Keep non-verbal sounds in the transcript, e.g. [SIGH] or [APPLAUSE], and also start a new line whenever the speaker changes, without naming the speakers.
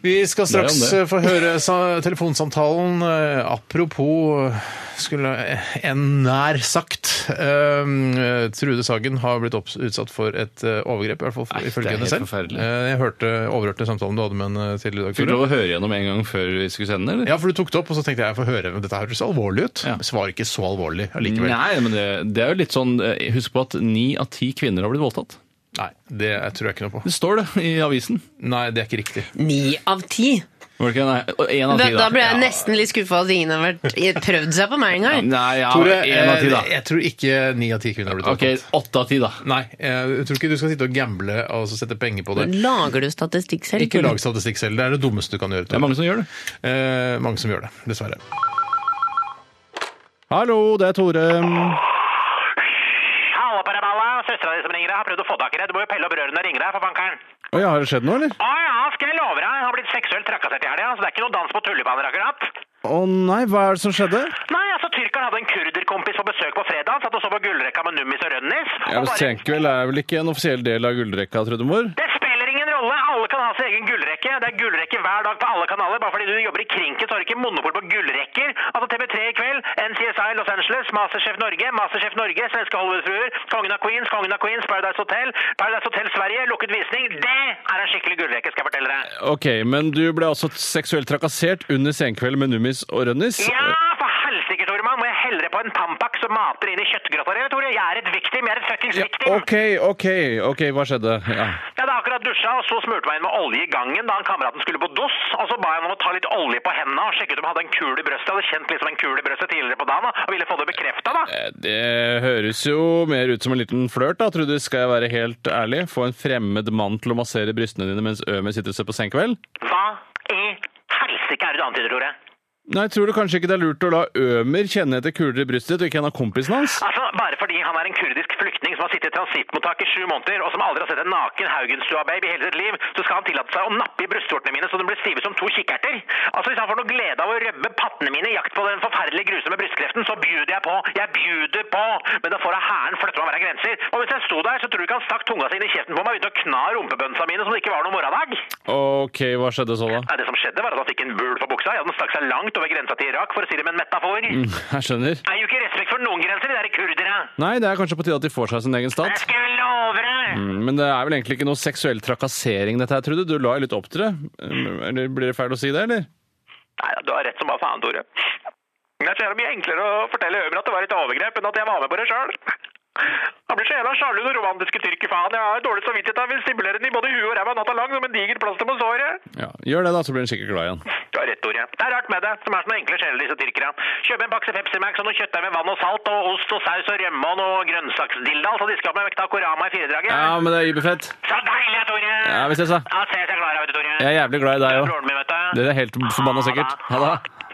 Vi skal straks
Det er om
eh, få høre sa- telefonsamtalen. eh, Apropos eh, skulle en nær sagt. eh, Trude Sagen har blitt opps- utsatt for et eh, overgrep, i hvert fall for-
Nei, det
ifølge
er
henne
helt
selv.
forferdelig.
Eh, Jeg hørte, overhørte samtalen du hadde med henne eh, tidligere i dag.
Fikk du
Tore.
lov å høre gjennom en gang før vi skulle sende, eller?
Ja, for du tok det opp, og så tenkte jeg jeg får høre. men Dette hørtes alvorlig ut.
Ja.
Men så var det ikke så alvorlig allikevel. Nei.
Nei, men det, det er jo litt sånn eh, Husk på at ni av ti kvinner har blitt voldtatt.
det tror jeg ikke noe på.
Det står det i avisen.
Nei, det er ikke riktig.
Ni av ti?
Var det ikke? Nei, én av
Da,
ti,
da
da.
ble jeg nesten litt skuffa at ingen har vært prøvd seg på meg engang.
Nei, ja,
Tore,
én av ti, da.
eh, jeg tror ikke ni av ti kvinner har blitt
Ok,
voldtatt.
åtte av ti, da.
Nei, eh, jeg tror ikke du skal sitte og gamble og så sette penger på det.
Lager du statistikk selv?
Ikke
Tore?
lag statistikk selv. Det er det dummeste du kan gjøre.
Det er
Tore.
mange som gjør det.
Eh, mange som gjør det, dessverre.
Hallo, det er Tore.
Halla, Paraballa. Søstera di som ringer deg, har prøvd å få tak i deg. Du må jo pelle opp rørene og ringe deg, for bankeren.
Oi, har det skjedd noe, eller?
Å ja, skal jeg love deg. Jeg har blitt seksuelt trakassert i helga, så det er ikke noe dans på tullebaner akkurat.
Å nei, hva er det som skjedde?
Nei, altså, tyrkeren hadde en kurderkompis på besøk på fredag. Han satt og så på gullrekka med Nummis og Rønnis.
Jeg
og bare-
tenker vel, er vel ikke en offisiell del av gullrekka, Trudemor?
Det spiller ingen rolle. Alle kan ha sin egen gullrekke. Det er gullrekke hver dag på alle kanaler. Bare fordi du jobber i Krinken, så har du ikke monopol på gullrekker. Altså TV3 i kveld, NCSI Los Angeles, Masterchef Norge, Masterchef Norge, svenske Hollywood-fruer, Kongen av Queens, Kongen av Queens, Paradise Hotel, Paradise Hotel Sverige, lukket visning. Det er en skikkelig gullrekke, skal jeg fortelle deg.
Ok, men du ble altså seksuelt trakassert under senkveld med Nummis og Rønnis?
Ja, for helsike, Toremann. Må jeg hellre på en Tampax som mater inn i kjøttgrotta di, Tore? Jeg er et victim. Jeg er et fuckings
Ja,
victim.
ok, ok, ok, hva skjedde? Ja.
Jeg hadde akkurat dusja, og så smurte meg inn med olje i gangen da han kameraten skulle på dos. Og så ba jeg ham om å ta litt olje på hendene og sjekke ut om jeg hadde en kul i brøstet. Jeg hadde kjent liksom en kul i brøstet tidligere på dagen da, og ville få det bekrefta, da.
Eh, Det høres jo mer ut som en liten flørt, da, Trude. Skal jeg være helt ærlig? Få en fremmed mann til å massere brystene dine mens Ømer sitter og ser på senkveld?
Hva i helsike er det du antyder, Tore?
Nei, tror du kanskje ikke det er lurt å la Ømer kjenne etter kuler i brystet ditt, og ikke en av kompisene hans?
Altså, Bare fordi han er en kurdisk flyktning som har sittet i transittmottak i sju måneder, og som aldri har sett en naken Haugenstua-baby i hele sitt liv, så skal han tillate seg å nappe i brystvortene mine så de blir stive som to kikkerter? Altså, Hvis han får noe glede av å rømme pattene mine i jakt på den forferdelige grusomme brystkreften, så bjuder jeg på. Jeg bjuder på! Men da får jeg hæren flytte meg hver grenser. Og hvis jeg sto der, så tror du ikke han stakk tunga si inn i kjeften på meg og begynte å kna rumpebønsa mine som det ikke var noen morgendag?
Ok, hva skjedde så, da? [LAUGHS]
Nei, Det som skjedde, var at han fikk en bul for buksa. Ja, den stakk seg langt over grensa til Irak, for å si det med en metafor.
Jeg skjønner.
Det er jo ikke respekt for noen grenser, de der kurdere.
Nei, det er kanskje på tide at de får seg sin egen
Jeg
stat.
skal love deg!
Mm, Men det er vel egentlig ikke noe seksuell trakassering, dette her, Trude. Du la jo litt opp til det. Mm, Eller blir det feil å si det, eller?
Nei, du har rett som bare faen, Tore. Men jeg tror det er mye enklere å fortelle Ømer at det var et overgrep, enn at jeg var med på det sjøl. Han blir så jævla sjalu, den romantiske tyrkerfaen. Jeg har dårlig samvittighet. Jeg vil stimulere den i både huet og ræva natta lang som en diger plaster på såret.
Ja, Gjør det, da, så blir hun sikkert glad igjen.
Du har rett, Tore. Det er rart med det, som er sånne enkle sjeler, disse tyrkerne. Kjøpe en bakse Pepsi Max og noe kjøttdeig med vann og salt og ost og saus og rømme og noe grønnsaksdilldall, så de skal med vekta korama i firedraget.
Ja, men det er überfett.
Så deilig, Tore!
Ja, vi ses, da.
Ja, ses jeg klarer, vet du, Tore.
Jeg er jævlig glad i deg
Det er
òg.
broren min, vet du.
Dere er helt forbanna sikkert. Ha det.